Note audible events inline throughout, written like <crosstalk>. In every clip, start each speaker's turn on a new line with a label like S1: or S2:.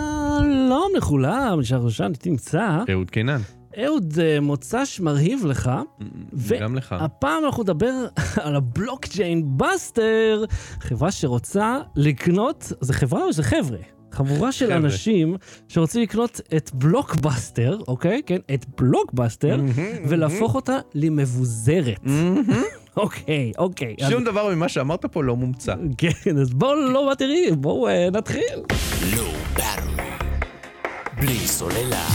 S1: שלום לכולם, שרשן תמצא.
S2: אהוד קינן,
S1: אהוד, אה, מוצ"ש מרהיב לך. ו-
S2: גם לך.
S1: הפעם אנחנו נדבר <laughs> על הבלוקצ'יין בסטר, חברה שרוצה לקנות, זה חברה או זה חבר'ה? חבורה של
S2: חבר'ה.
S1: אנשים שרוצים לקנות את בלוקבאסטר, אוקיי? כן, את בלוקבאסטר,
S2: Mm-hmm.
S1: ולהפוך אותה למבוזרת. אוקיי, אוקיי. אז-
S2: שום דבר ממה שאמרת פה לא מומצא.
S1: כן, אז בואו לא מתירים, בואו אה, נתחיל.
S3: בלי סוללה.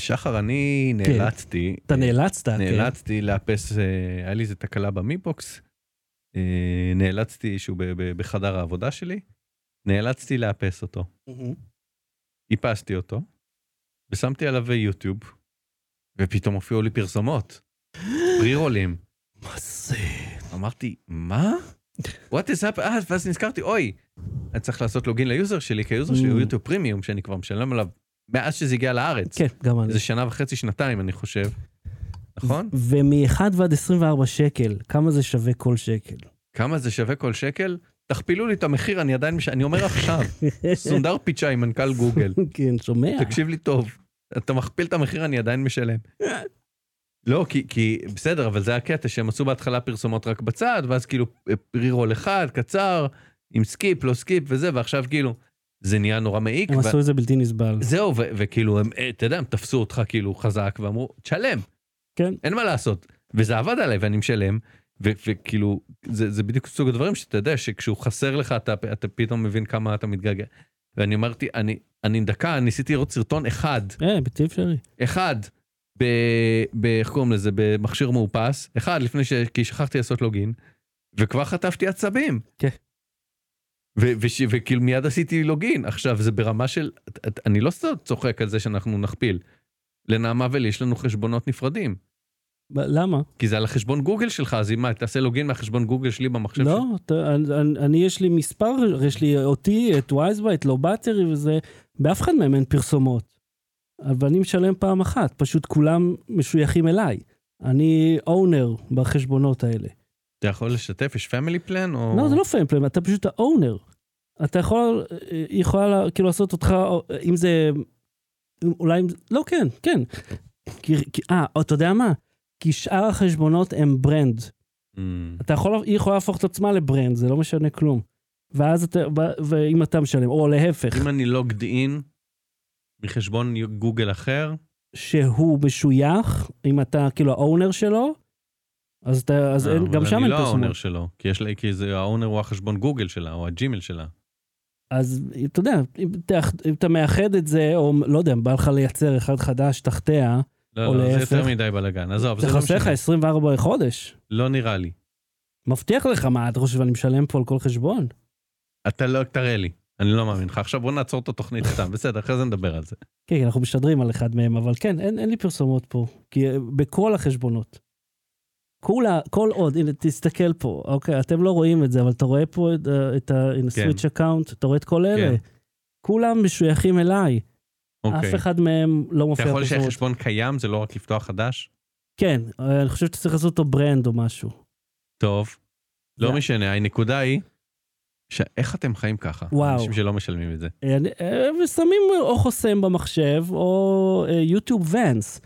S2: שחר, אני
S1: כן.
S2: נאלצתי,
S1: אתה נאלצת, כן.
S2: נאלצתי לאפס, אה, היה לי איזה תקלה במיבוקס, אה, נאלצתי שהוא ב- ב- בחדר העבודה שלי, נאלצתי לאפס אותו.
S1: מהמם.
S2: איפסתי אותו, ושמתי עליו יוטיוב, ופתאום הופיעו לי
S1: <gasps>
S2: פרסומות, פרי-רולים.
S1: מה זה?
S2: אמרתי, מה? What is up? אה, ואז נזכרתי, אוי, אני צריך לעשות לוגין ליוזר שלי, כי היוזר שלי הוא
S1: Mm.
S2: יוטיוב פרימיום, שאני כבר משלם עליו מאז שזה הגיע לארץ.
S1: כן, גם אני.
S2: איזה שנה וחצי, שנתיים, אני חושב. נכון?
S1: ומ-1 ועד 24 שקל, כמה זה שווה כל שקל?
S2: כמה זה שווה כל שקל? תכפילו לי את המחיר, אני עדיין, מש- אני
S1: <laughs>
S2: אומר עכשיו, סונדר פיצ'אי, מנכ"ל גוגל,
S1: כן, שומע?
S2: תקשיב לי טוב, אתה מכפיל את המחיר, אני עדיין משלם. לא, כי, כי בסדר, אבל זה הקטע שהם עשו בהתחלה פרסומות רק בצד, ואז כאילו רירול אחד, קצר, עם סקיפ, לא סקיפ וזה, ועכשיו כאילו, זה נהיה נורא מעיק.
S1: הם
S2: ו-
S1: עשו את זה בלתי נסבל.
S2: זהו, ו- וכאילו, הם, אה, אתה יודע, הם תפסו אותך כאילו חזק ואמרו, תשלם.
S1: כן.
S2: אין מה לעשות. וזה עבד עליי ואני משלם, ו- וכאילו, זה, זה בדיוק סוג הדברים שאתה יודע, שכשהוא חסר לך, אתה, אתה פתאום מבין כמה אתה מתגעגע. ואני אמרתי, אני, אני דקה, ניסיתי לראות סרטון אחד,
S1: אה, בלתי אפשרי.
S2: אחד, ב... ב... איך קוראים לזה? במכשיר מאופס, אחד לפני ש... כי שכחתי לעשות לוגין, וכבר חטפתי עצבים.
S1: כן.
S2: ו- וש- וכאילו מיד עשיתי לוגין. עכשיו זה ברמה של, את- את- אני לא סתם צוחק על זה שאנחנו נכפיל. לנעמה ולי יש לנו חשבונות נפרדים.
S1: ב- למה?
S2: כי זה על החשבון גוגל שלך, אז אם מה, תעשה לוגין מהחשבון גוגל שלי במחשב
S1: לא,
S2: שלך.
S1: אתה- אני- אני- אני יש לי מספר, יש לי אותי, את וייזבה, את לובטרי וזה, באף אחד מהם אין פרסומות. אבל אני משלם פעם אחת, פשוט כולם משויכים אליי. אני אונר בחשבונות האלה.
S2: אתה יכול לשתף, יש פמילי פלן או...
S1: לא, זה לא פיימפלם, אתה פשוט האונר. אתה יכול, היא יכולה לה- כאילו לעשות אותך, או- אם זה, אולי, אם- לא, כן, כן. כי, כי- אה, אתה יודע מה? כי שאר החשבונות הם ברנד.
S2: אמ,
S1: אתה יכול, היא יכולה להפוך את עצמה לברנד, זה לא משנה כלום. ואז אתה, ו- ואם אתה משלם, או להפך,
S2: אם אני לוגד אין מחשבון גוגל אחר,
S1: שהוא משוייך, אם אתה כאילו האונר שלו, אז, אתה, אז
S2: אה,
S1: אין,
S2: אבל
S1: גם שם אין
S2: אני לא
S1: פרסומות.
S2: האונר שלו, כי יש לה, כי זה האונר הוא החשבון גוגל שלה, או הג'ימל שלה.
S1: אז אתה יודע, אם, תאח, אם אתה מאחד את זה, או לא יודע, בא לך לייצר אחד חדש תחתיה, או
S2: לא, לא, זה
S1: להפך.
S2: יותר מדי בלאגן, עזוב, זה
S1: זה
S2: לא
S1: חסר לך
S2: משנה.
S1: 24 לחודש.
S2: לא נראה לי.
S1: מבטיח לך, מה, אתה חושב, אני משלם פה על כל חשבון?
S2: אתה לא, תראה לי. אני לא מאמין לך. עכשיו בוא נעצור את התוכנית סתם, בסדר, אחרי זה נדבר על זה.
S1: כן, כן, אנחנו משדרים על אחד מהם, אבל כן, אין, אין לי פרסומות פה, כי אה, בכל החשבונות. כולה, כל עוד, הנה, תסתכל פה, אוקיי, אתם לא רואים את זה, אבל אתה רואה פה את, אה, את ה... הנה,
S2: כן.
S1: סוויץ' אקאונט, אתה רואה את כל אלה.
S2: כן.
S1: כולם משויכים אליי,
S2: אוקיי.
S1: אף אחד מהם לא
S2: אתה
S1: מופיע
S2: יכול שיהיה
S1: בפרסומות.
S2: חשבון קיים, זה לא רק לפתוח חדש?
S1: כן, אה, אני חושב שאתה צריך לעשות אותו ברנד או משהו.
S2: טוב. לא
S1: זה-
S2: משנה, הנקודה היא, שאיך אתם חיים ככה?
S1: וואו.
S2: אנשים שלא משלמים את זה.
S1: אה, אה, ושמים או חוסם במחשב, או יוטיוב ואנס.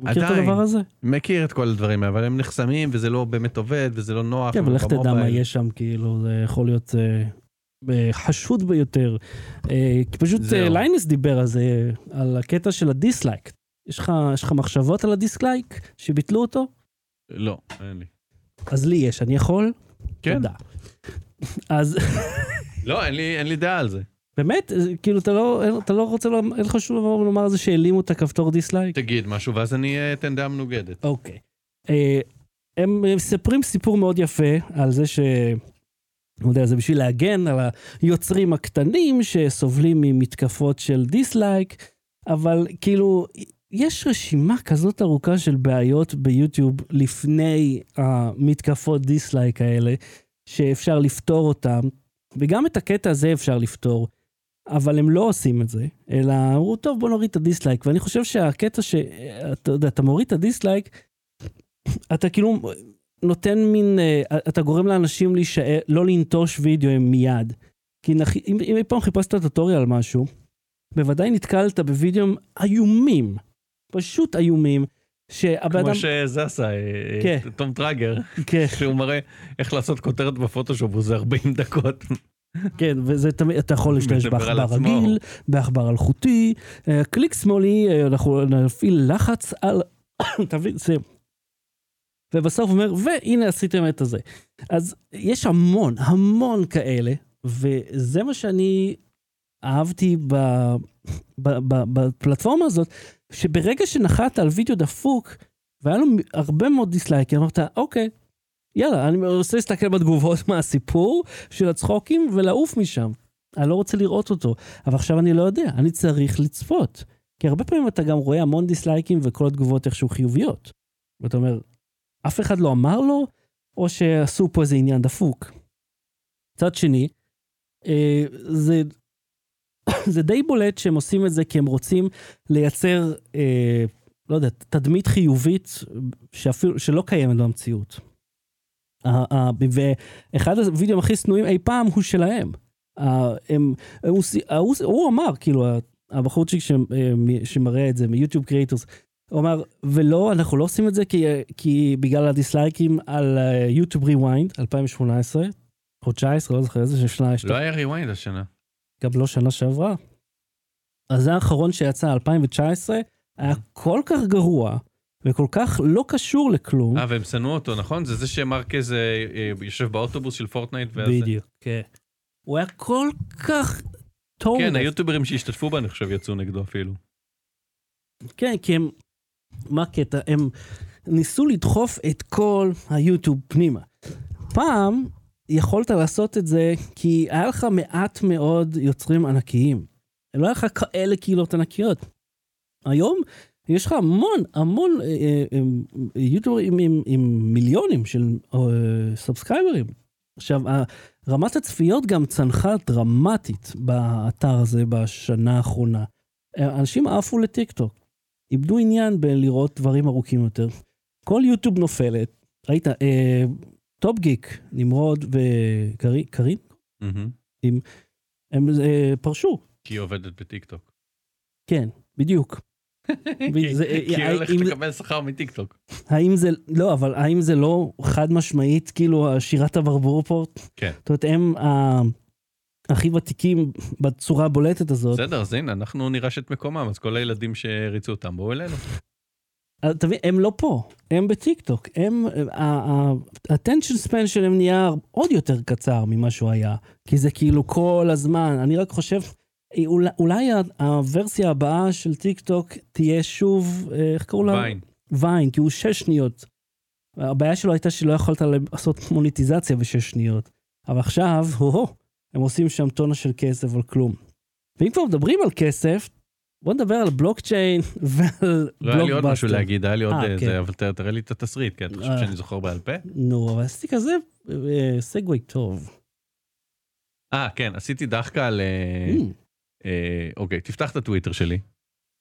S1: אתה מכיר את
S2: עדיין.
S1: הדבר הזה? כן,
S2: מכיר את כל הדברים, אבל הם נחסמים, וזה לא באמת עובד, וזה לא נוח.
S1: כן, אבל לך
S2: ובמובייל.
S1: תדע מה יש שם, כאילו, זה יכול להיות אה, אה, חשוד ביותר. אה, כי פשוט אה,
S2: זהו.
S1: ליינס דיבר על זה, אה, על הקטע של הדיסלייק. יש לך יש לך מחשבות על הדיסלייק שביטלו אותו?
S2: לא, אין לי.
S1: אז לי יש, אני יכול?
S2: כן.
S1: תודה. אז <laughs>
S2: לא, אין לי- אין לי דעה על זה.
S1: באמת, אה, כאילו, אתה לא, אין- אתה לא רוצה, לומר- אין לך שום דבר לומר על זה שהעלימו את הכפתור דיסלייק?
S2: תגיד משהו, ואז אני אה, אתן דעה מנוגדת.
S1: אוקיי. אה, הם אה, מספרים סיפור מאוד יפה על זה ש... לא יודע, זה בשביל להגן על היוצרים הקטנים שסובלים ממתקפות של דיסלייק, אבל כאילו, יש רשימה כזאת ארוכה של בעיות ביוטיוב לפני המתקפות דיסלייק האלה, שאפשר לפתור אותם, וגם את הקטע הזה אפשר לפתור, אבל הם לא עושים את זה, אלא אמרו, טוב, בוא נוריד את הדיסלייק, ואני חושב שהקטע שאתה יודע, אתה מוריד את הדיסלייק, אתה כאילו נותן מין, אה, אתה גורם לאנשים להישאר, לא לנטוש וידאו מיד. כי נח... אם, אם אי פעם חיפשת טוטוריאל על משהו, בוודאי נתקלת בווידאוים איומים, פשוט איומים, שהבן אדם...
S2: כמו שזה עשה, אה,
S1: כן.
S2: אה, תום <laughs> טראגר,
S1: כן,
S2: שהוא מראה איך לעשות כותרת בפוטושופ, וזה 40 דקות.
S1: כן, וזה תמיד, אתה יכול להשתמש
S2: מדבר על
S1: בעכבר
S2: עצמו.
S1: רגיל, בעכבר אלחוטי, אה, קליק שמאלי, אה, אנחנו נפעיל לחץ על... <coughs> תבין, זה... ובסוף הוא אומר, והנה עשיתם את הזה. אז יש המון, המון כאלה, וזה מה שאני אהבתי ב, ב, ב, בפלטפורמה הזאת, שברגע שנחת על וידאו דפוק, והיה לו הרבה מאוד דיסלייקים, אמרת, אוקיי, יאללה, אני רוצה להסתכל בתגובות מה הסיפור של הצחוקים ולעוף משם. אני לא רוצה לראות אותו, אבל עכשיו אני לא יודע, אני צריך לצפות. כי הרבה פעמים אתה גם רואה המון דיסלייקים וכל התגובות איכשהו חיוביות. ואתה אומר, אף אחד לא אמר לו, או שעשו פה איזה עניין דפוק. מצד שני, אה, זה, זה די בולט שהם עושים את זה כי הם רוצים לייצר, אה, לא יודע, תדמית חיובית שאפילו, שלא קיימת במציאות. ה- ה- ואחד הווידאוים הכי שנואים אי פעם הוא שלהם. ה- הם, הוא, סי- הוא, הוא אמר, כאילו, ה- הבחורצ'יק ש- מ- שמראה את זה מיוטיוב קריאטורס, הוא אמר, ולא, אנחנו לא עושים את זה כי, כי בגלל הדיסלייקים על אה, יוטיוב ריוויינד 2018, או 19, לא זוכר איזה שנה יש.
S2: <laughs> לא היה ריוויינד השנה.
S1: גם לא שנה שעברה. אז זה האחרון שיצא, 2019, היה כל כך גרוע, וכל כך לא קשור לכלום.
S2: אה, והם שנאו אותו, נכון? זה זה שמרקז אה, אה, יושב באוטובוס של פורטנייט, ואז...
S1: בדיוק, כן. הוא היה כל כך טוב.
S2: כן, היוטיוברים שהשתתפו בה, אני חושב, יצאו נגדו אפילו.
S1: כן, כי הם... מה הקטע? הם ניסו לדחוף את כל היוטיוב פנימה. פעם יכולת לעשות את זה כי היה לך מעט מאוד יוצרים ענקיים. לא היה לך כאלה קהילות ענקיות. היום יש לך המון, המון אה, אה, אה, יוטיוברים עם, עם מיליונים של אה, סאבסקייברים. עכשיו, ה- רמת הצפיות גם צנחה דרמטית באתר הזה בשנה האחרונה. אה, אנשים עפו לטיקטוק, איבדו עניין בלראות דברים ארוכים יותר. כל יוטיוב נופלת, ראית, אה, טופ גיק, נמרוד וקרין,
S2: מהמם.
S1: הם אה, פרשו,
S2: כי היא עובדת בטיקטוק.
S1: כן,
S2: <laughs>
S1: בדיוק. וזה-
S2: כי היא
S1: אה,
S2: הולכת
S1: אם-
S2: לקבל שכר מטיקטוק.
S1: האם זה, לא, אבל האם זה לא חד משמעית, כאילו, שירת הברבור פה?
S2: כן.
S1: זאת אומרת, הם ה- הכי ותיקים בצורה הבולטת הזאת.
S2: בסדר, אז הנה, אנחנו נירש את מקומם, אז כל הילדים שהריצו אותם, בואו אלינו.
S1: אז תבין, הם לא פה, הם בטיקטוק, הם, אה, ה-attention span שלהם נהיה עוד יותר קצר ממה שהוא היה, כי זה כאילו כל הזמן, אני רק חושב, אה, אולי, אולי ה- הוורסיה הבאה של טיקטוק תהיה שוב, אה, איך קראו לה?
S2: ויין.
S1: ויין, כי הוא שש שניות. הבעיה שלו הייתה שלא יכולת לעשות מוניטיזציה בשש שניות, אבל עכשיו, הו-הו, הם עושים שם טונה של כסף על כלום. ואם כבר מדברים על כסף, בוא נדבר על בלוקצ'יין <laughs> ועל
S2: לא היה לי עוד משהו להגיד, היה לי עוד
S1: אה,
S2: אה,
S1: כן.
S2: זה, אבל ת- תראה לי את התסריט, כי אתה חושב
S1: אה.
S2: שאני זוכר בעל פה?
S1: נו, אבל עשיתי כזה אה, סגווי טוב.
S2: אה, כן, עשיתי דחקה על... אה,
S1: Mm,
S2: אה, אוקיי, תפתח את הטוויטר שלי,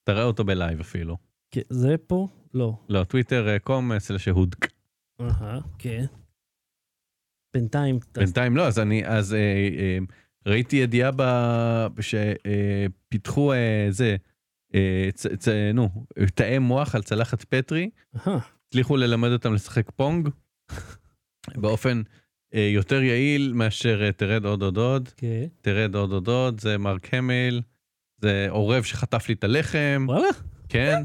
S2: תראה אותו בלייב אפילו.
S1: כן, זה פה? לא.
S2: לא, טוויטר קום אצל שהודק.
S1: אהה, כן. בינתיים,
S2: בינתיים לא, אז אני, אז אה, אה, ראיתי ידיעה שפיתחו זה, אה, צ, צ, נו, תאי מוח על צלחת פטרי,
S1: אהה,
S2: הצליחו ללמד אותם לשחק פונג באופן אה, יותר יעיל מאשר אה, תרד עוד עוד עוד,
S1: כן.
S2: תרד עוד עוד עוד, זה מרק המיל, זה עורב שחטף לי את הלחם,
S1: וואלה,
S2: כן,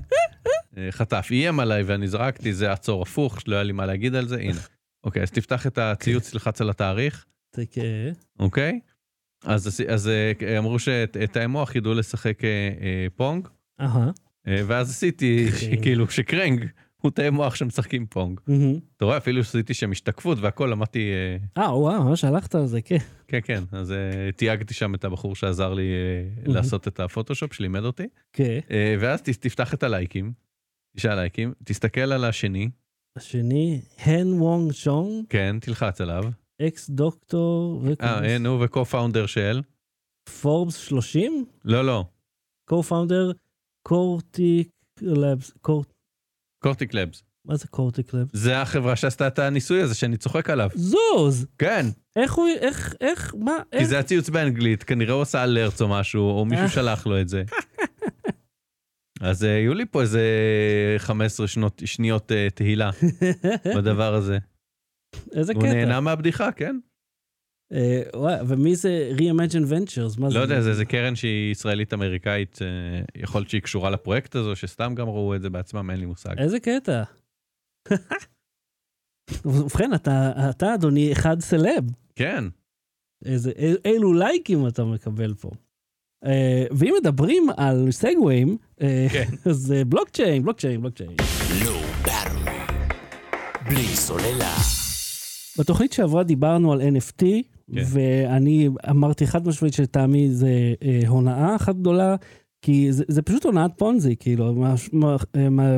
S2: אה, חטף, איים עליי ואני זרקתי, זה עצור הפוך, לא היה לי מה להגיד על זה, הנה. אוקיי, אז תפתח את הציוץ, תלחץ על התאריך.
S1: זה כן.
S2: אוקיי? אז, עשי- אז אה, אמרו שתאי מוח ידעו לשחק אה, אה, פונג,
S1: אהה.
S2: אה, ואז עשיתי
S1: קרנג.
S2: כאילו שקרנג הוא תאי מוח שמשחקים פונג.
S1: מהמם.
S2: אתה רואה, אפילו עשיתי שם השתקפות והכל, אמרתי, אה,
S1: אה, וואו, ממש הלכת על זה, כן.
S2: כן, כן, אז אה, תייגתי שם את הבחור שעזר לי אה,
S1: Mhm.
S2: לעשות את הפוטושופ, שלימד אותי,
S1: כן.
S2: אה, ואז ת- תפתח את הלייקים, תשעה לייקים, תסתכל על השני,
S1: השני, הן וונג שונג,
S2: כן, תלחץ עליו,
S1: אקס דוקטור
S2: אה, אה, נו, וקו-פאונדר של,
S1: פורבס 30,
S2: לא, לא,
S1: co-founder, קורטיק לבס,
S2: קורטיק לבס.
S1: מה זה קורטיק לבס?
S2: זה החברה שעשתה את הניסוי הזה שאני צוחק עליו.
S1: זוז!
S2: כן,
S1: איך הוא, איך, איך, מה,
S2: כי
S1: איך?
S2: זה הציוץ באנגלית, כנראה הוא עשה אלרץ או משהו, או מישהו
S1: אה.
S2: שלח לו את
S1: <laughs>
S2: זה. אז אה, יהיו לי פה איזה 15 שנות, שניות אה,
S1: <laughs>
S2: תהילה בדבר הזה.
S1: <laughs> איזה
S2: הוא
S1: קטע.
S2: נהנה מהבדיחה, כן?
S1: אה, וואי, ומי זה Re-Imagine Ventures? מה זה?
S2: לא יודע, זה איזה קרן שהיא ישראלית-אמריקאית, אה, יכול להיות שהיא קשורה לפרויקט הזו, שסתם גם ראו את זה בעצמם, אין לי מושג.
S1: איזה קטע. <laughs> ובכן, אתה, אתה, אדוני, אחד סלב.
S2: כן,
S1: איזה, אל- אילו לייקים אתה מקבל פה. אה, ואם מדברים על סגוויים, אה,
S2: כן.
S1: <laughs> אז אה, בלוקצ'יין, בלוקצ'יין, בלוקצ'יין.
S3: Low Battery. לא בלי סוללה.
S1: בתוכנית שעברה דיברנו על NFT,
S2: כן.
S1: ואני אמרתי חד משמעית שלטעמי זה אה, הונאה אחת גדולה, כי זה, זה פשוט הונאת פונזי, כאילו, מה, מה, אה, מה,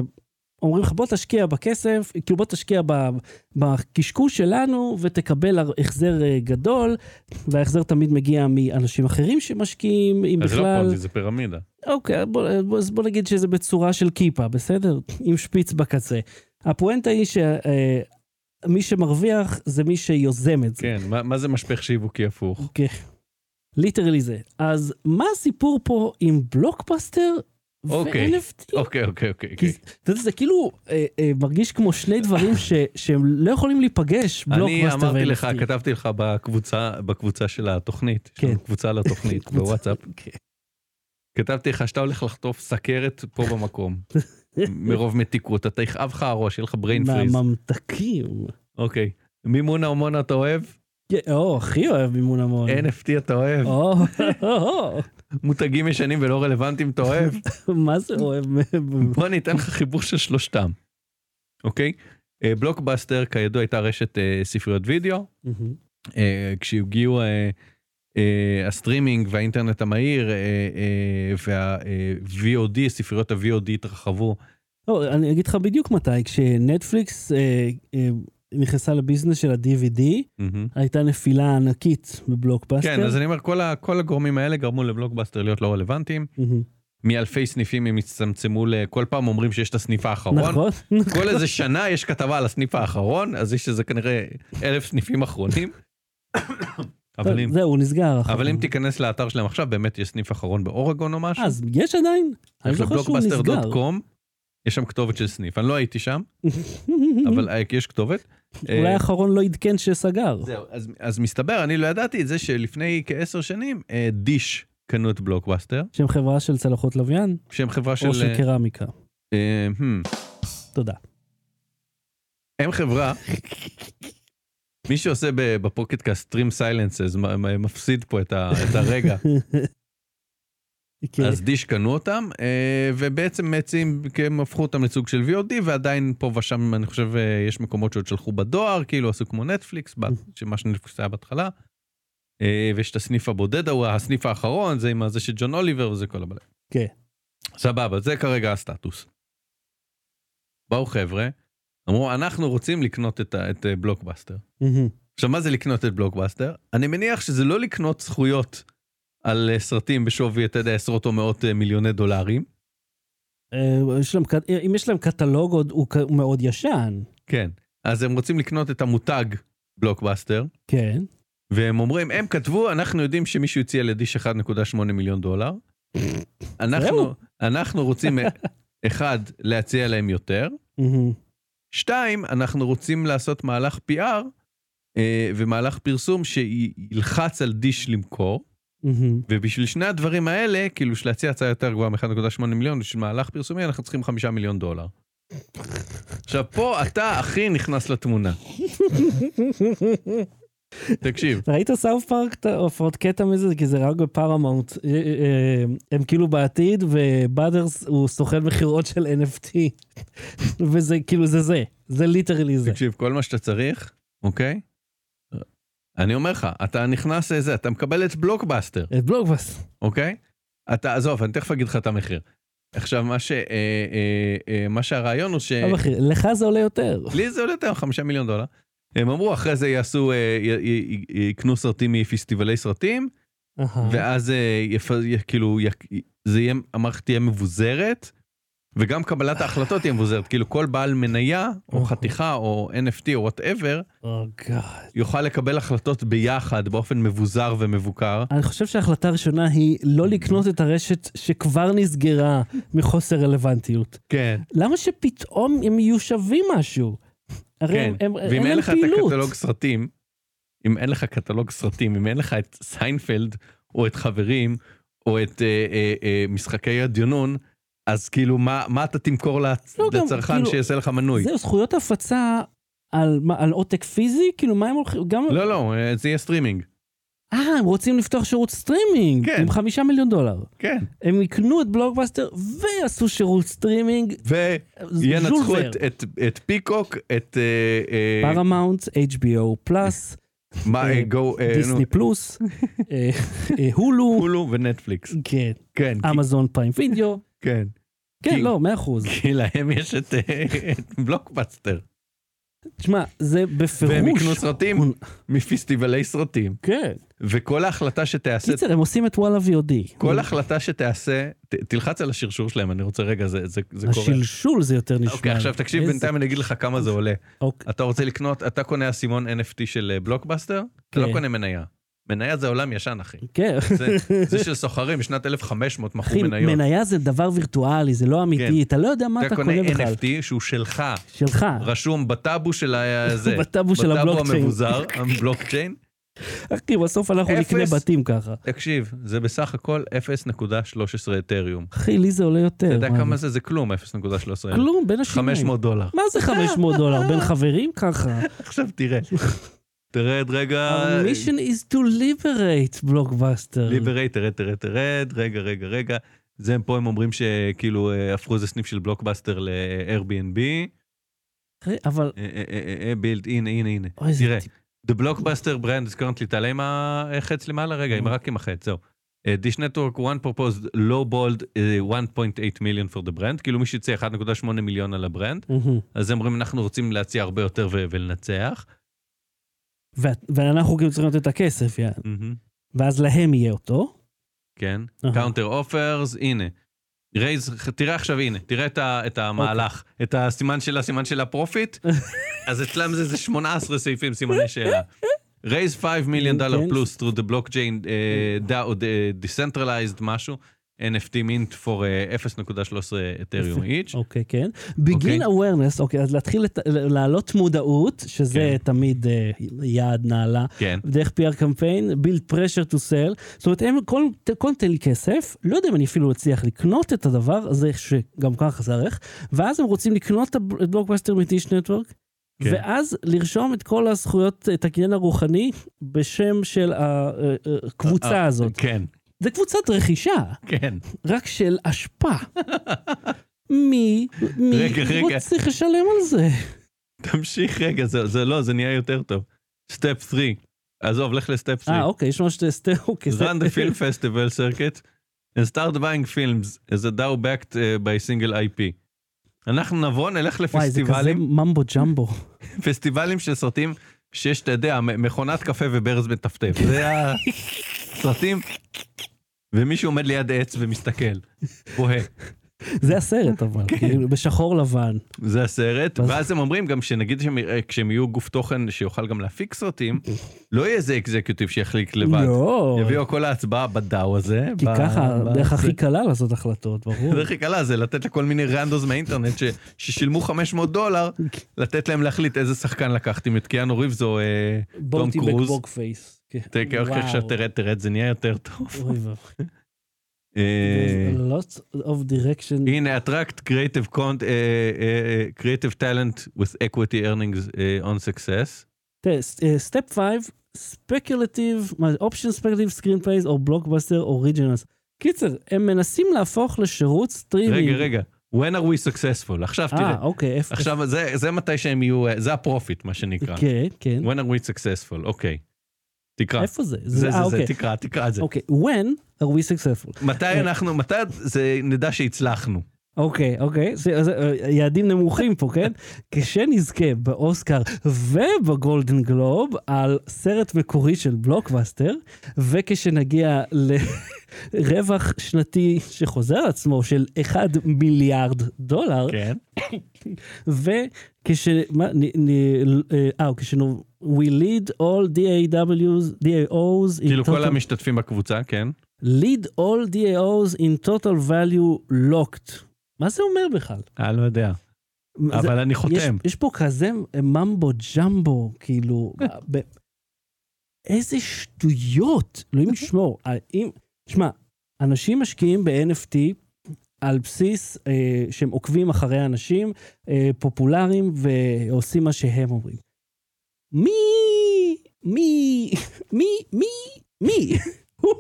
S1: אומרים לך בוא תשקיע בכסף, כאילו בוא תשקיע ב, בקשקוש שלנו ותקבל הר- החזר אה, גדול, וההחזר תמיד מגיע מאנשים אחרים שמשקיעים, אם
S2: אז זה לא
S1: בכלל...
S2: פונזי, זה פירמידה.
S1: אוקיי, בוא, בוא, אז בוא נגיד שזה בצורה של כיפה, בסדר? עם שפיץ בקצה. הפואנטה היא שמי שמרוויח זה מי שיוזם את זה.
S2: כן, מה- מה זה משפך שיווקי הפוך?
S1: כן. ליטרלי זה. אז מה הסיפור פה עם בלוקבאסטר
S2: אוקיי,
S1: ו-NFT?
S2: אוקיי, אוקיי, אוקיי.
S1: כי
S2: אוקיי.
S1: זה- אתה יודע, זה כאילו אה, אה, מרגיש כמו שני דברים ש, שהם לא יכולים להיפגש,
S2: אני
S1: בלוקבאסטר ו-NFT.
S2: אמרתי לך, כתבתי לך בקבוצה, בקבוצה של התוכנית, יש
S1: כן.
S2: לנו קבוצה
S1: <laughs>
S2: לתוכנית
S1: קבוצה,
S2: בוואטסאפ,
S1: כן.
S2: כתבתי לך שאתה הולך לחטוף סכרת פה
S1: <laughs>
S2: במקום, מרוב מתיקות, אתה יכאב לך הראש, יהיה לך brain freeze.
S1: מהממתקים.
S2: אוקיי. מימון ההומון אתה אוהב?
S1: כן, או, הכי אוהב מימון המון.
S2: NFT אתה אוהב?
S1: או, <laughs> או,
S2: מותגים ישנים ולא רלוונטיים
S1: <laughs>
S2: אתה אוהב?
S1: או, מה זה אוהב?
S2: בוא אני אתן לך חיבור של שלושתם, אוקיי? אה, בלוקבאסטר כידוע הייתה רשת אה, ספריות וידאו,
S1: מהמם.
S2: אה, כשהגיעו אה, אה, הסטרימינג והאינטרנט המהיר אה, אה, וה-VOD, ספריות ה-VOD התרחבו.
S1: לא, אני אגיד לך בדיוק מתי, כשנטפליקס אה, אה, נכנסה לביזנס של ה-DVD, הייתה נפילה ענקית בבלוקבאסטר.
S2: כן, אז אני אומר, כל, ה, כל הגורמים האלה גרמו לבלוקבאסטר להיות לא רלוונטיים.
S1: מהמם.
S2: מאלפי סניפים הם הצטמצמו לכל פעם אומרים שיש את הסניף האחרון.
S1: נכון?
S2: כל איזה שנה יש כתבה על הסניף האחרון, אז יש איזה כנראה אלף סניפים אחרונים. אבל, אם,
S1: זהו, הוא נסגר. אחר
S2: אבל אם
S1: כך.
S2: תיכנס לאתר שלהם עכשיו, באמת יש סניף אחרון באורגון או משהו.
S1: אז יש עדיין? אני
S2: הולך
S1: זוכר שהוא נסגר. <laughs>
S2: לבלוקבאסטר.קום, יש שם כתובת של סניף. אני לא הייתי שם, אבל אה, יש כתובת.
S1: Mm-hmm. אולי
S2: אה,
S1: האחרון לא עדכן שסגר.
S2: זהו, אז- אז מסתבר, אני לא ידעתי את זה שלפני כעשר שנים, אה, דיש קנו את בלוקבאסטר,
S1: שהם חברה של צלחות לוויין,
S2: שהם חברה של...
S1: או של
S2: אה,
S1: קרמיקה.
S2: אה, הם,
S1: תודה.
S2: הם חברה, מי שעושה ב- בפוקטקאסט טרים סיילנסס מפסיד פה את ה- את הרגע.
S1: כן.
S2: אז דיש קנו אותם, אה, ובעצם מציעים, כי הם הפכו אותם לסוג של VOD, ועדיין פה ושם, אני חושב, אה, יש מקומות שעוד שלחו בדואר, כאילו עשו כמו נטפליקס, בת- שמה שנטפליקס היה בהתחלה. אה, ויש את הסניף הבודד ההוא, הסניף האחרון, זה עם הזה של ג'ון אוליבר וזה כל הבעיה.
S1: כן.
S2: סבבה, זה כרגע הסטטוס. באו חבר'ה, אמרו, אנחנו רוצים לקנות את, ה- את אה, בלוקבאסטר.
S1: מהמם.
S2: עכשיו, מה זה לקנות את בלוקבאסטר? אני מניח שזה לא לקנות זכויות על אה, סרטים בשווי, אתה יודע, עשרות או מאות אה, מיליוני דולרים.
S1: אה, יש להם ק- אם יש להם קטלוג עוד- הוא ק- הוא מאוד ישן.
S2: כן. אז הם רוצים לקנות את המותג בלוקבאסטר,
S1: כן.
S2: והם אומרים, הם כתבו, אנחנו יודעים שמישהו הציע לדיש 1.8 מיליון דולר. אנחנו,
S1: זהו.
S2: אנחנו רוצים, אה, אחד, להציע להם יותר.
S1: מהמם.
S2: שתיים, אנחנו רוצים לעשות מהלך PR אה, ומהלך פרסום שילחץ על דיש למכור.
S1: מהמם.
S2: ובשביל שני הדברים האלה, כאילו של להציע הצעה יותר גבוהה מ-1.8 מיליון, בשביל מהלך פרסומי אנחנו צריכים 5 מיליון דולר. עכשיו פה אתה הכי נכנס לתמונה, תקשיב.
S1: ראית סאוף פארק את ההופעות קטע מזה? כי זה רק בפארמאונט. אה, אה, הם כאילו בעתיד, ובאדרס הוא סוכן מכירות של NFT. <laughs> וזה כאילו זה זה. זה ליטרלי זה.
S2: תקשיב, כל מה שאתה צריך, אוקיי? אני אומר לך, אתה נכנס לזה, אתה מקבל את בלוקבאסטר,
S1: את בלוקבאס.
S2: אוקיי? אתה, עזוב, אני תכף אגיד לך את המחיר. עכשיו, מה ש... אה, אה, אה, מה שהרעיון הוא ש...
S1: לא מכיר, לך זה עולה יותר.
S2: לי זה עולה יותר חמישה מיליון דולר. הם אמרו, אחרי זה יעשו, אה, י- י- י- יקנו סרטים מפסטיבלי סרטים, אה,
S1: אהה.
S2: ואז אה, יפ... י- כאילו, י... זה יהיה, המערכת תהיה מבוזרת, וגם קבלת ההחלטות היא מבוזרת, כאילו כל בעל מניה, או
S1: אוקיי.
S2: חתיכה, או NFT, או וואטאבר,
S1: או גאד.
S2: יוכל לקבל החלטות ביחד, באופן מבוזר ומבוקר.
S1: אני חושב שההחלטה הראשונה היא לא לקנות את הרשת שכבר נסגרה מחוסר רלוונטיות.
S2: כן.
S1: למה שפתאום הם יהיו שווים משהו? הרי
S2: כן,
S1: הם, הם,
S2: ואם אין
S1: להם
S2: לך את
S1: פעילות.
S2: הקטלוג סרטים, אם אין לך קטלוג סרטים, אם אין לך את סיינפלד, או את חברים, או את אה, אה, אה, משחקי הדיונון, אז כאילו, מה, מה אתה תמכור לצ...
S1: לא, גם,
S2: לצרכן
S1: כאילו,
S2: שיעשה לך מנוי?
S1: זהו, זכויות הפצה על, מה, על עותק פיזי? כאילו, מה הם הולכים... גם...
S2: לא, לא, אה, זה יהיה סטרימינג.
S1: אה, הם רוצים לפתוח שירות סטרימינג.
S2: כן.
S1: עם חמישה מיליון דולר.
S2: כן.
S1: הם יקנו את בלוגבאסטר ויעשו שירות סטרימינג.
S2: וינצחו
S1: ז'ולבר.
S2: את, את, את פיקוק, את... אה, אה,
S1: פרמאונט, HBO פלאס,
S2: מה, אה,
S1: אה,
S2: גו... אה, נו,
S1: דיסני פלוס, אה, אה, הולו,
S2: הולו ונטפליקס.
S1: כן,
S2: כן, כי-
S1: אמזון פריים וידאו.
S2: כן.
S1: כן,
S2: כי-
S1: לא, מאה אחוז.
S2: כי להם יש את אה, את בלוקבאסטר.
S1: תשמע, זה בפירוש...
S2: והם יקנו סרטים
S1: הון-
S2: מפסטיבלי סרטים.
S1: כן.
S2: וכל ההחלטה שתיעשה,
S1: קיצר, הם עושים את וואלה VOD.
S2: כל החלטה שתיעשה, ת- תלחץ על השרשור שלהם, אני רוצה רגע, זה זה- זה קורה.
S1: השלשול זה יותר נשמע.
S2: אוקיי, עכשיו תקשיב,
S1: איזה-
S2: בינתיים אני אגיד לך כמה זה עולה.
S1: אוקיי,
S2: אתה רוצה לקנות, אתה קונה אסימון NFT של אה, בלוקבאסטר, אתה לא
S1: כן.
S2: קונה מניה. מניה זה עולם ישן, אחי.
S1: כן. <laughs>
S2: זה- זה של סוחרים, בשנת 1500
S1: אחי,
S2: מכרו מניות.
S1: מניה זה דבר וירטואלי, זה לא אמיתי, אתה לא יודע מה
S2: אתה
S1: אתה
S2: כן. קונה
S1: קונה בכלל.
S2: NFT שהוא שלך,
S1: שלך.
S2: רשום בטאבו
S1: <laughs>
S2: של ה- זה.
S1: בטאבו של הבלוקצ'יין.
S2: בטאבו
S1: <laughs>
S2: המבוזר, אה, הבלוקצ'יין.
S1: אחי, בסוף אנחנו
S2: אפס.
S1: נקנה בתים ככה.
S2: תקשיב, זה בסך הכל 0.13 אתריום.
S1: אחי, לי זה עולה יותר.
S2: אתה יודע
S1: מה
S2: כמה זה? זה כלום, 0.13.
S1: כלום, בין השיניים.
S2: 500 דולר.
S1: מה זה
S2: <laughs>
S1: 500 דולר? בין חברים ככה?
S2: עכשיו תראה. תרד רגע.
S1: ה-mission is to liberate בלוקבאסטר.
S2: ליברייט, תרד, תרד, תרד, רגע, רגע, רגע. זה פה הם אומרים שכאילו אה, הפכו איזה סניף של בלוקבאסטר ל-Airbnb. אה,
S1: אחי, אבל,
S2: בילד, אה, הנה, הנה, הנה.
S1: אוי, זה
S2: תראה, The Blockbuster brand is currently, תעלה עם החץ למעלה רגע, עם רק עם החץ, זהו. Uh, Dish Network one proposed low bold uh, 1.8 million for the brand, כאילו מי שיצא 1.8 מיליון על הברנד,
S1: מהמם.
S2: אז הם אומרים אנחנו רוצים להציע הרבה יותר ו- ולנצח.
S1: ו- ואנחנו גם צריכים לתת את הכסף, יאללה. ואז להם יהיה אותו.
S2: כן,
S1: אהה.
S2: קאונטר אופרס, הנה. רייז, תראה עכשיו, הנה, תראה את, ה, את המהלך, את הסימן של הסימן של הפרופיט, אז אצלם זה, זה 18 סעיפים, סימני שאלה. רייז 5 מיליון דולר
S1: כן.
S2: פלוס through the blockchain, uh, DAO, uh, decentralized משהו, NFT mint for uh, 0.13 אתריום איץ'.
S1: אוקיי, כן. בגין awareness, אוקיי, אז להתחיל לת- להעלות מודעות, שזה
S2: כן.
S1: תמיד אה, יעד נעלה.
S2: כן,
S1: דרך PR קמפיין, build pressure to sell. זאת אומרת, הם, כל, כל נותן לי כסף, לא יודע אם אני אפילו אצליח לקנות את הדבר הזה, שגם ככה זה ערך, ואז הם רוצים לקנות את הב- את בלוקבאסטר מטיש נטוורק,
S2: כן.
S1: כן. ואז לרשום את כל הזכויות, את הקניין הרוחני, בשם של אה, הקבוצה הזאת.
S2: כן,
S1: זה קבוצת רכישה,
S2: כן.
S1: רק של אשפה. מי, מי
S2: רגע, רגע.
S1: רוצה לשלם על זה?
S2: תמשיך רגע, זה, זה לא, זה נהיה יותר טוב. סטפ 3, עזוב, לך לסטפ 3.
S1: אה, אוקיי, יש ממש שתי סטי, אוקיי. זה-
S2: run the film festival circuit and start buying films as a DAO backed uh, by single IP. אנחנו נבוא, נלך
S1: <laughs> וואי, זה כזה
S2: לפסטיבלים,
S1: ממבו ג'מבו.
S2: פסטיבלים של סרטים שיש, אתה יודע, מ- מכונת קפה וברז מטפטף. זה הסרטים, ומישהו עומד ליד עץ ומסתכל, בוהה.
S1: זה הסרט אבל,
S2: כן.
S1: כאילו, בשחור לבן.
S2: זה הסרט,
S1: אז-
S2: ואז הם אומרים גם שנגיד שהם- אה, כשהם יהיו גוף תוכן שיוכל גם להפיק סרטים, לא יהיה איזה אקזקיוטיב שיחליק לבד.
S1: לא,
S2: יביאו כל ההצבעה בדאו הזה.
S1: כי
S2: ב-
S1: ככה
S2: ב-
S1: הדרך
S2: זה.
S1: הכי קלה לעשות החלטות, ברור.
S2: הדרך הכי קלה זה לתת לכל מיני רנדוס מהאינטרנט ש, ששילמו 500 דולר, לתת להם להחליט איזה שחקן לקחתם, את קיאנו ריבס או אה, טום
S1: בוטי
S2: קרוז.
S1: בקבוק פייס. כן.
S2: תראה, איך
S1: וואו.
S2: עכשיו תרד, תרד, זה נהיה יותר טוב.
S1: אוי ואבוי.
S2: אה,
S1: There's a lot of direction.
S2: הנה, attract creative cont- אה, אה, אה, creative talent with equity earnings אה, on success.
S1: סטפ 5, ספקולטיב, אופשן ספקולטיב סקרין פלייז או בלוקבאסטר אוריג'ינלס. קיצר, הם מנסים להפוך לשירות סטרימינג.
S2: רגע, רגע, when are we successful? עכשיו תראה,
S1: אה, אוקיי, איפה?
S2: עכשיו זה- זה מתי שהם יהיו, אה, זה הפרופיט, מה שנקרא.
S1: כן, כן.
S2: when are we successful, אוקיי. תקרא.
S1: איפה זה?
S2: זה,
S1: אה,
S2: זה, זה,
S1: אוקיי.
S2: תקרא, תקרא את זה.
S1: אוקיי, when are we successful?
S2: מתי אנחנו, מתי זה נדע שהצלחנו?
S1: אוקיי, אוקיי, זה- אז, אה, יעדים נמוכים פה,
S2: <laughs>
S1: כן? כשנזכה באוסקר ובגולדן גלוב על סרט מקורי של בלוקבאסטר, וכשנגיע לרווח שנתי שחוזר על עצמו של 1 מיליארד דולר,
S2: כן.
S1: <laughs> וכש... מה, נ- נ- אה, אה, כשנו... We lead all DAWs, DAOs in
S2: כאילו כל
S1: total-
S2: המשתתפים בקבוצה, כן.
S1: lead all DAOs in total value locked. מה זה אומר בכלל?
S2: אני לא יודע.
S1: זה-
S2: אבל אני
S1: יש,
S2: חותם.
S1: יש פה כזה ממבו ג'מבו, כאילו, ב... איזה שטויות, אלוהים ישמור. האם- שמע, אנשים משקיעים ב-NFT על בסיס אה, שהם עוקבים אחרי אנשים אה, פופולריים ועושים מה שהם אומרים. מי? מי? מי? מי? מי? <laughs>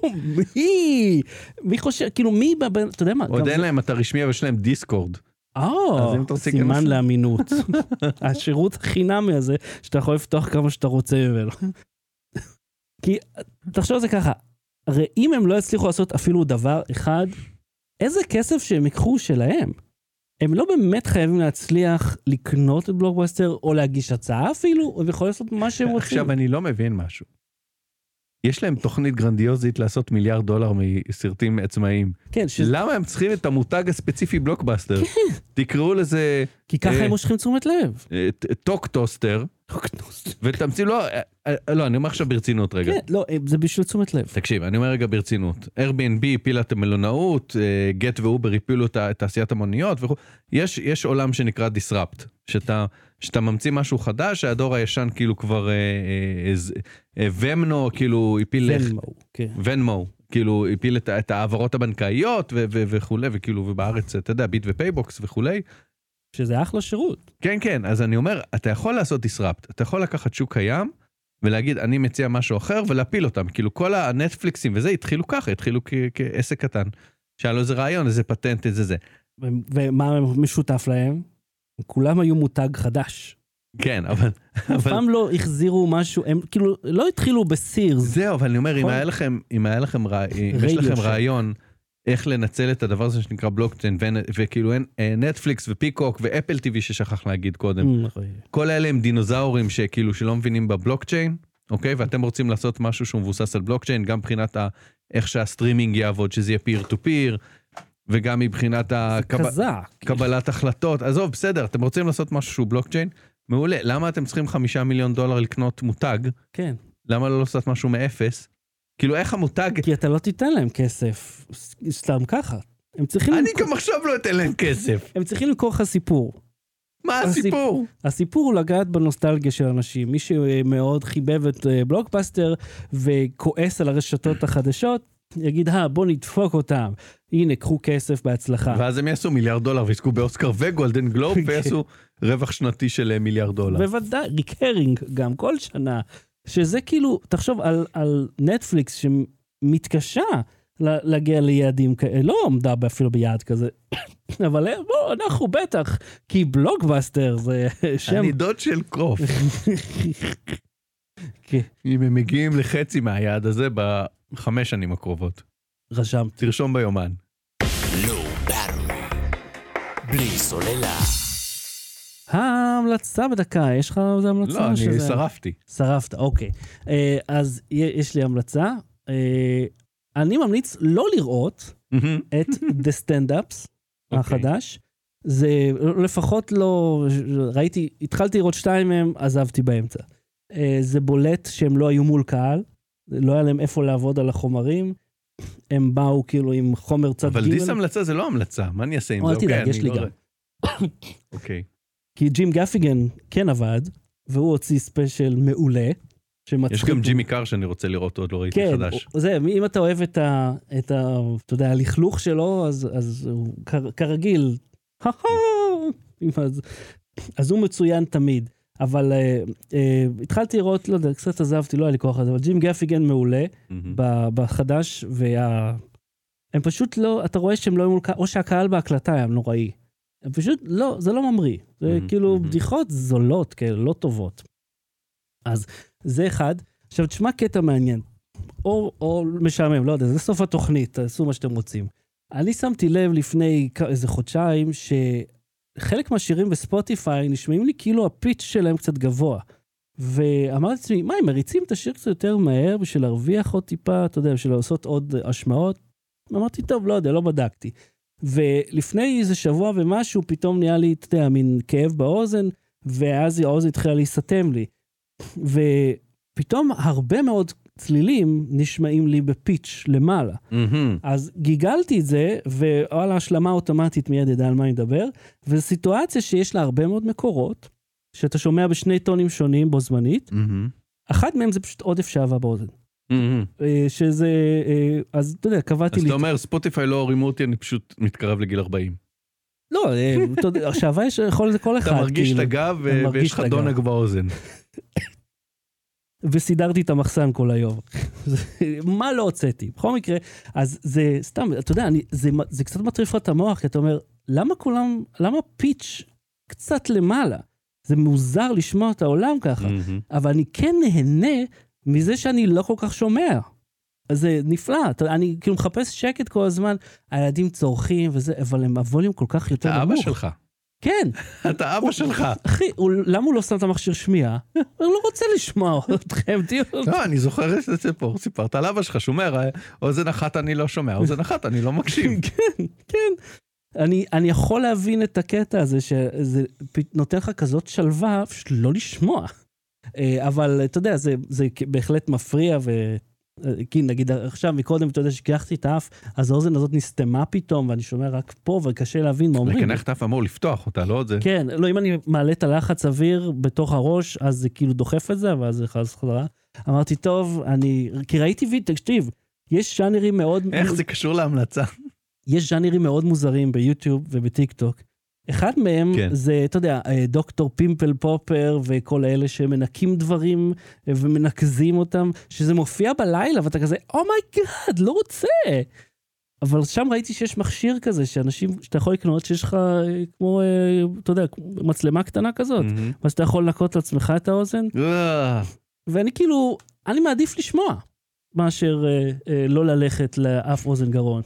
S1: מי? מי חושב? כאילו, מי בבן... אתה יודע מה?
S2: עוד
S1: גם-
S2: אין להם, אתה רשמי, אבל יש להם דיסקורד. אז אם אתה
S1: או,
S2: רוצה
S1: אה, סימן
S2: להיכנס- <laughs>
S1: לאמינות. השירות החינמי הזה, שאתה יכול לפתוח כמה שאתה רוצה ממנו. כי, תחשוב על זה ככה, הרי אם הם לא יצליחו לעשות אפילו דבר אחד, איזה כסף שהם ייקחו שלהם? הם לא באמת חייבים להצליח לקנות את בלוקבאסטר, או להגיש הצעה אפילו, הם יכולים לעשות מה שהם רוצים.
S2: עכשיו, אני לא מבין משהו. יש להם תוכנית גרנדיוזית לעשות מיליארד דולר מסרטים עצמאיים.
S1: כן, ש... כן.
S2: למה הם צריכים את המותג הספציפי בלוקבאסטר? תקראו לזה
S1: כי ככה
S2: אה. לא
S1: הם מושכים תשומת לב.
S2: אה, ט- טוק טוסטר, ותמציא, לא, אה, אה, לא, אני אומר עכשיו ברצינות רגע.
S1: כן, לא, אה, זה בשביל תשומת לב.
S2: תקשיב, אני אומר רגע ברצינות. Airbnb הפילה את המלונאות, אה, גט ואובר הפילו את ה- את תעשיית המוניות וכו'. יש, יש עולם שנקרא disrupt, שאתה, שאתה ממציא משהו חדש, שהדור הישן כאילו כבר... אה, אה, אה, ז- אה, ומנו כאילו הפיל...
S1: זה מהו, כן.
S2: ונמו, כאילו הפיל את, ה- את ההעברות הבנקאיות ו- ו- וכולי, וכאילו, ובארץ, אתה יודע, ביט ופייבוקס וכולי.
S1: שזה אחלה שירות.
S2: כן, כן, אז אני אומר, אתה יכול לעשות disrupt, אתה יכול לקחת שוק קיים ולהגיד, אני מציע משהו אחר ולהפיל אותם. כאילו, כל הנטפליקסים וזה התחילו ככה, התחילו כ- כעסק קטן. שהיה לו איזה רעיון, איזה פטנט, איזה זה.
S1: ו- ומה משותף להם? כולם היו מותג חדש.
S2: כן,
S1: <laughs>
S2: אבל...
S1: אף
S2: אבל...
S1: פעם לא החזירו משהו, הם כאילו לא התחילו בסירס.
S2: זהו, אבל אני אומר, אם
S1: נכון.
S2: היה לכם, אם היה לכם, רע- אם יש
S1: רדיו
S2: לכם
S1: שק.
S2: רעיון איך לנצל את הדבר הזה שנקרא בלוקצ'יין, ו- וכאילו אין- אה, נטפליקס ופיקוק ואפל טיווי ששכח להגיד קודם,
S1: Mm, נכון.
S2: כל אלה הם דינוזאורים שכאילו שלא מבינים בבלוקצ'יין, אוקיי? ואתם רוצים לעשות משהו שהוא מבוסס על בלוקצ'יין, גם מבחינת ה... איך שהסטרימינג יעבוד, שזה יהיה פיר טו פיר, וגם מבחינת הקב...
S1: קזק.
S2: קבלת החלטות. עזוב, בסדר, אתם רוצים לעשות משהו שהוא בלוקצ'יין? מעולה. למה אתם צריכים חמישה מיליון דולר לקנות מותג?
S1: כן.
S2: למה לא לעשות משהו מאפס? כאילו, איך המותג...
S1: כי אתה לא תיתן להם כסף, ס- סתם ככה. הם צריכים,
S2: אני
S1: למכור-
S2: גם עכשיו לא אתן להם כסף.
S1: הם צריכים למכור לך סיפור.
S2: מה הסיפור?
S1: הסיפור הוא לגעת בנוסטלגיה של אנשים. מי שמאוד חיבב את אה, בלוקבאסטר וכועס על הרשתות החדשות, יגיד, אה, בוא נדפוק אותם. הנה, קחו כסף בהצלחה.
S2: ואז הם יעשו מיליארד דולר ויזכו באוסקר וגולדן גלוב
S1: אה. כן.
S2: ויעשו רווח שנתי של אה, מיליארד דולר.
S1: בוודאי, ריקרינג גם, כל שנה. שזה כאילו, תחשוב על, על נטפליקס שמתקשה ל- להגיע ליעדים כאלה, לא עמדה אפילו ביעד כזה, <coughs> אבל אה, בוא, אנחנו בטח, כי בלוקבאסטר זה <laughs> שם...
S2: אני דוד של קרוף.
S1: כן,
S2: אם הם מגיעים לחצי מהיעד הזה בחמש שנים הקרובות.
S1: רשמתי.
S2: תרשום ביומן.
S3: לא ברור. בלי סוללה.
S1: ההמלצה בדקה, יש לך איזה המלצה?
S2: לא, אני
S1: שזה-
S2: שרפתי.
S1: שרפת, אוקיי. אה, אז י- יש לי המלצה. אה, אני ממליץ לא לראות את
S2: <laughs>
S1: The Stand-Ups
S2: אוקיי.
S1: החדש. זה לפחות לא, ראיתי, התחלתי לראות שתיים מהם, עזבתי באמצע. אה, זה בולט שהם לא היו מול קהל, לא היה להם איפה לעבוד על החומרים, הם באו כאילו עם חומר צד ג'
S2: אבל דיס המלצה זה לא המלצה, מה אני אעשה עם
S1: או,
S2: זה?
S1: אל
S2: אוקיי,
S1: תדאג, יש
S2: אני
S1: לי <coughs>
S2: לא
S1: גם.
S2: רואה. אוקיי.
S1: כי ג'ים גפיגן כן עבד, והוא הוציא ספיישל מעולה.
S2: יש
S1: שמצחיק
S2: גם ג'ימי קאר שאני רוצה לראות, עוד לא ראיתי
S1: כן,
S2: חדש.
S1: הוא- זה, אם אתה אוהב את ה... את ה... אתה יודע, הלכלוך שלו, אז, אז הוא כ- כרגיל, אז, אז הוא מצוין תמיד. אבל אה, אה, התחלתי לראות, לא יודע, קצת עזבתי, לא היה לי כוח לזה, אבל ג'ים גפיגן מעולה
S2: מהמם.
S1: ב- בחדש, וה... הם פשוט לא, אתה רואה שהם לא היו מול קהל, או שהקהל בהקלטה היה נוראי. הם פשוט, לא, זה לא ממריא. זה
S2: Mhm,
S1: כאילו
S2: mhm.
S1: בדיחות זולות כאלה, לא טובות. אז זה אחד. עכשיו, תשמע קטע מעניין. או, או משעמם, לא יודע, זה סוף התוכנית, תעשו מה שאתם רוצים. אני שמתי לב לפני כ- איזה חודשיים, שחלק מהשירים בספוטיפיי נשמעים לי כאילו הפיץ' שלהם קצת גבוה. ואמרתי לעצמי, מה, הם מריצים את השיר קצת יותר מהר בשביל להרוויח עוד טיפה, אתה יודע, בשביל לעשות עוד אה, השמעות? אמרתי, טוב, לא יודע, לא בדקתי. ולפני איזה שבוע ומשהו, פתאום נהיה לי, אתה יודע, מין כאב באוזן, ואז האוזן התחילה להיסתם לי. ופתאום הרבה מאוד צלילים נשמעים לי בפיץ' למעלה.
S2: מהמם.
S1: אז גיגלתי את זה, ועל ההשלמה האוטומטית מיד אדע על מה אני מדבר, וזו סיטואציה שיש לה הרבה מאוד מקורות, שאתה שומע בשני טונים שונים בו זמנית,
S2: מהמם.
S1: אחת מהם זה פשוט עודף שעווה באוזן.
S2: מהמם.
S1: אה, שזה, אה, אז אתה יודע, קבעתי
S2: אז
S1: לי...
S2: אתה אומר, ספוטיפיי לא הרימו אותי, אני פשוט מתקרב לגיל 40.
S1: לא, אה, אתה
S2: <laughs>
S1: יודע, שעווה יש יכול לזה כל אחד.
S2: אתה מרגיש את
S1: כאילו.
S2: הגב ו-
S1: אתה מרגיש
S2: ויש לך
S1: את הגב.
S2: דונג באוזן.
S1: וסידרתי את המחסן כל היום. <laughs> מה לא הוצאתי? בכל מקרה, אז זה סתם, אתה יודע, אני, זה, זה קצת מטריף לך את המוח, כי אתה אומר, למה כולם, למה פיץ' קצת למעלה? זה מוזר לשמוע את העולם ככה.
S2: מהמם.
S1: אבל אני כן נהנה מזה שאני לא כל כך שומע. אז זה נפלא, אתה, אני כאילו מחפש שקט כל הזמן, הילדים צורכים וזה, אבל הם הווליום כל כך יותר
S2: אתה
S1: נמוך.
S2: אבא שלך.
S1: כן.
S2: אתה אבא שלך.
S1: <laughs> אחי, הוא, למה הוא לא שם את המכשיר שמיעה? <laughs> הוא לא רוצה לשמוע אתכם, תהיו...
S2: <laughs> לא, אני זוכר את הסיפור, סיפרת על אבא שלך, שומר, אה, אוזן אחת אני לא שומע, אוזן אחת אני לא מקשיב.
S1: כן, כן. אני, אני יכול להבין את הקטע הזה, שזה פ- נותן לך כזאת שלווה, פשוט לא לשמוע. אה, אבל אתה יודע, זה, זה כ- בהחלט מפריע, ו... אה, כי נגיד עכשיו, מקודם, אתה יודע, שקיחתי את האף, אז האוזן הזאת נסתמה פתאום, ואני שומע רק פה, וקשה להבין מה <laughs> אומרים.
S2: לקנח את האף אמור לפתוח אותה, לא עוד זה.
S1: כן, לא, אם אני מעלה את הלחץ אוויר בתוך הראש, אז זה כאילו דוחף את זה, ואז זה חז חזרה. אמרתי, טוב, אני... כי ראיתי וידאו, תקשיב, יש ז'אנרים מאוד...
S2: איך זה קשור
S1: <laughs>
S2: להמלצה?
S1: יש ז'אנרים מאוד מוזרים ביוטיוב ובטיק טוק. אחד מהם
S2: כן.
S1: כן. זה, אתה יודע, אה, דוקטור פימפל פופר וכל אלה שמנקים דברים אה, ומנקזים אותם, שזה מופיע בלילה ואתה כזה, אומייגאד, לא רוצה. אבל שם ראיתי שיש מכשיר כזה, שאנשים, שאתה יכול לקנות, שיש לך אה, כמו, אה, אתה יודע, כמו מצלמה קטנה כזאת.
S2: מהמם.
S1: אז אתה יכול לנקות לעצמך את האוזן,
S2: אה,
S1: ואני כאילו, אני מעדיף לשמוע מאשר אה, אה, לא ללכת לאף אוזן גרון.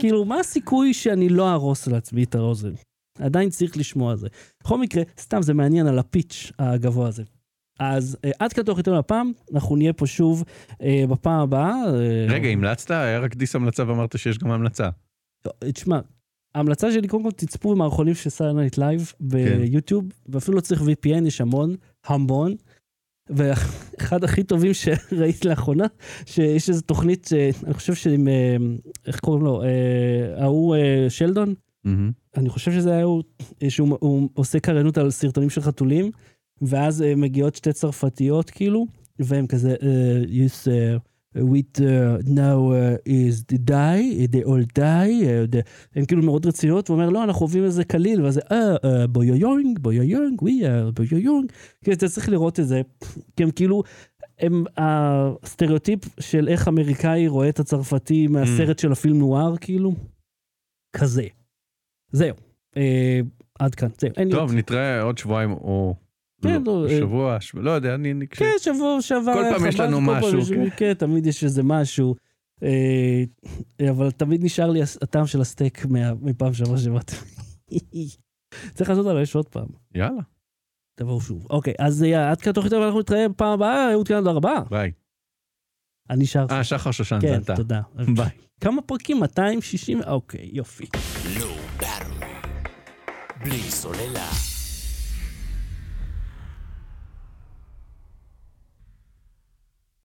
S1: כאילו, מה הסיכוי שאני לא אהרוס לעצמי את האוזן? עדיין צריך לשמוע את זה. בכל מקרה, סתם זה מעניין על הפיץ' הגבוה הזה. אז אה, עד כאן תוך יותר הפעם, אנחנו נהיה פה שוב אה, בפעם הבאה. אה,
S2: רגע, המלצת? היה רק דיס המלצה ואמרת שיש גם המלצה.
S1: לא, תשמע, ההמלצה שלי, קודם כל תצפו במערכונים של סיילנט לייב ביוטיוב, ואפילו לא צריך VPN, יש המון, המון. ואחד הכי טובים שראיתי לאחרונה, שיש איזו תוכנית, אה, אני חושב שעם, אה, איך קוראים לו, אה, ההוא אה, שלדון,
S2: מהמם.
S1: אני חושב שזה היה הוא, אה, שהוא הוא עושה קריינות על סרטונים של חתולים, ואז אה, מגיעות שתי צרפתיות כאילו, והם כזה, אה, yes, uh, with uh, now uh, is the die, they all die, uh, the... הם כאילו מאוד רציניות, הוא אומר, לא, אנחנו אוהבים את זה קליל, ואז זה, אה, אה, בויויונג, בויויונג, we are בויויונג. כן, אתה צריך לראות את זה, כי הם כאילו, הם הסטריאוטיפ של איך אמריקאי רואה את הצרפתי מהסרט של הפילם נואר, כאילו, כזה. זהו. אה, עד כאן, זהו. אין לי
S2: טוב,
S1: עוד.
S2: נתראה עוד שבועיים או...
S1: כן,
S2: לא,
S1: לא, אה,
S2: שבוע, שבוע, לא יודע, אני... אני-
S1: כן, שבוע שעבר.
S2: כל
S1: היה
S2: פעם יש
S1: חבל,
S2: לנו
S1: כל פעם
S2: משהו,
S1: יש-
S2: כן.
S1: כן, תמיד יש איזה משהו. אה, אבל תמיד נשאר לי הס- הטעם של הסטייק מה- מפעם שעברה שבאתי. <laughs> צריך לעשות עליו יש עוד פעם.
S2: יאללה,
S1: תבואו שוב. אוקיי, אז אה, עד כאן תוכנית, אבל אנחנו נתראה בפעם הבאה, אהוד כאן, תודה רבה.
S2: ביי.
S1: אני שר.
S2: אה, שחר שושן, זה
S1: כן,
S2: אתה.
S1: תודה.
S2: ביי.
S1: כמה פרקים? 260? אוקיי, יופי.
S3: Low Battery. בלי סוללה.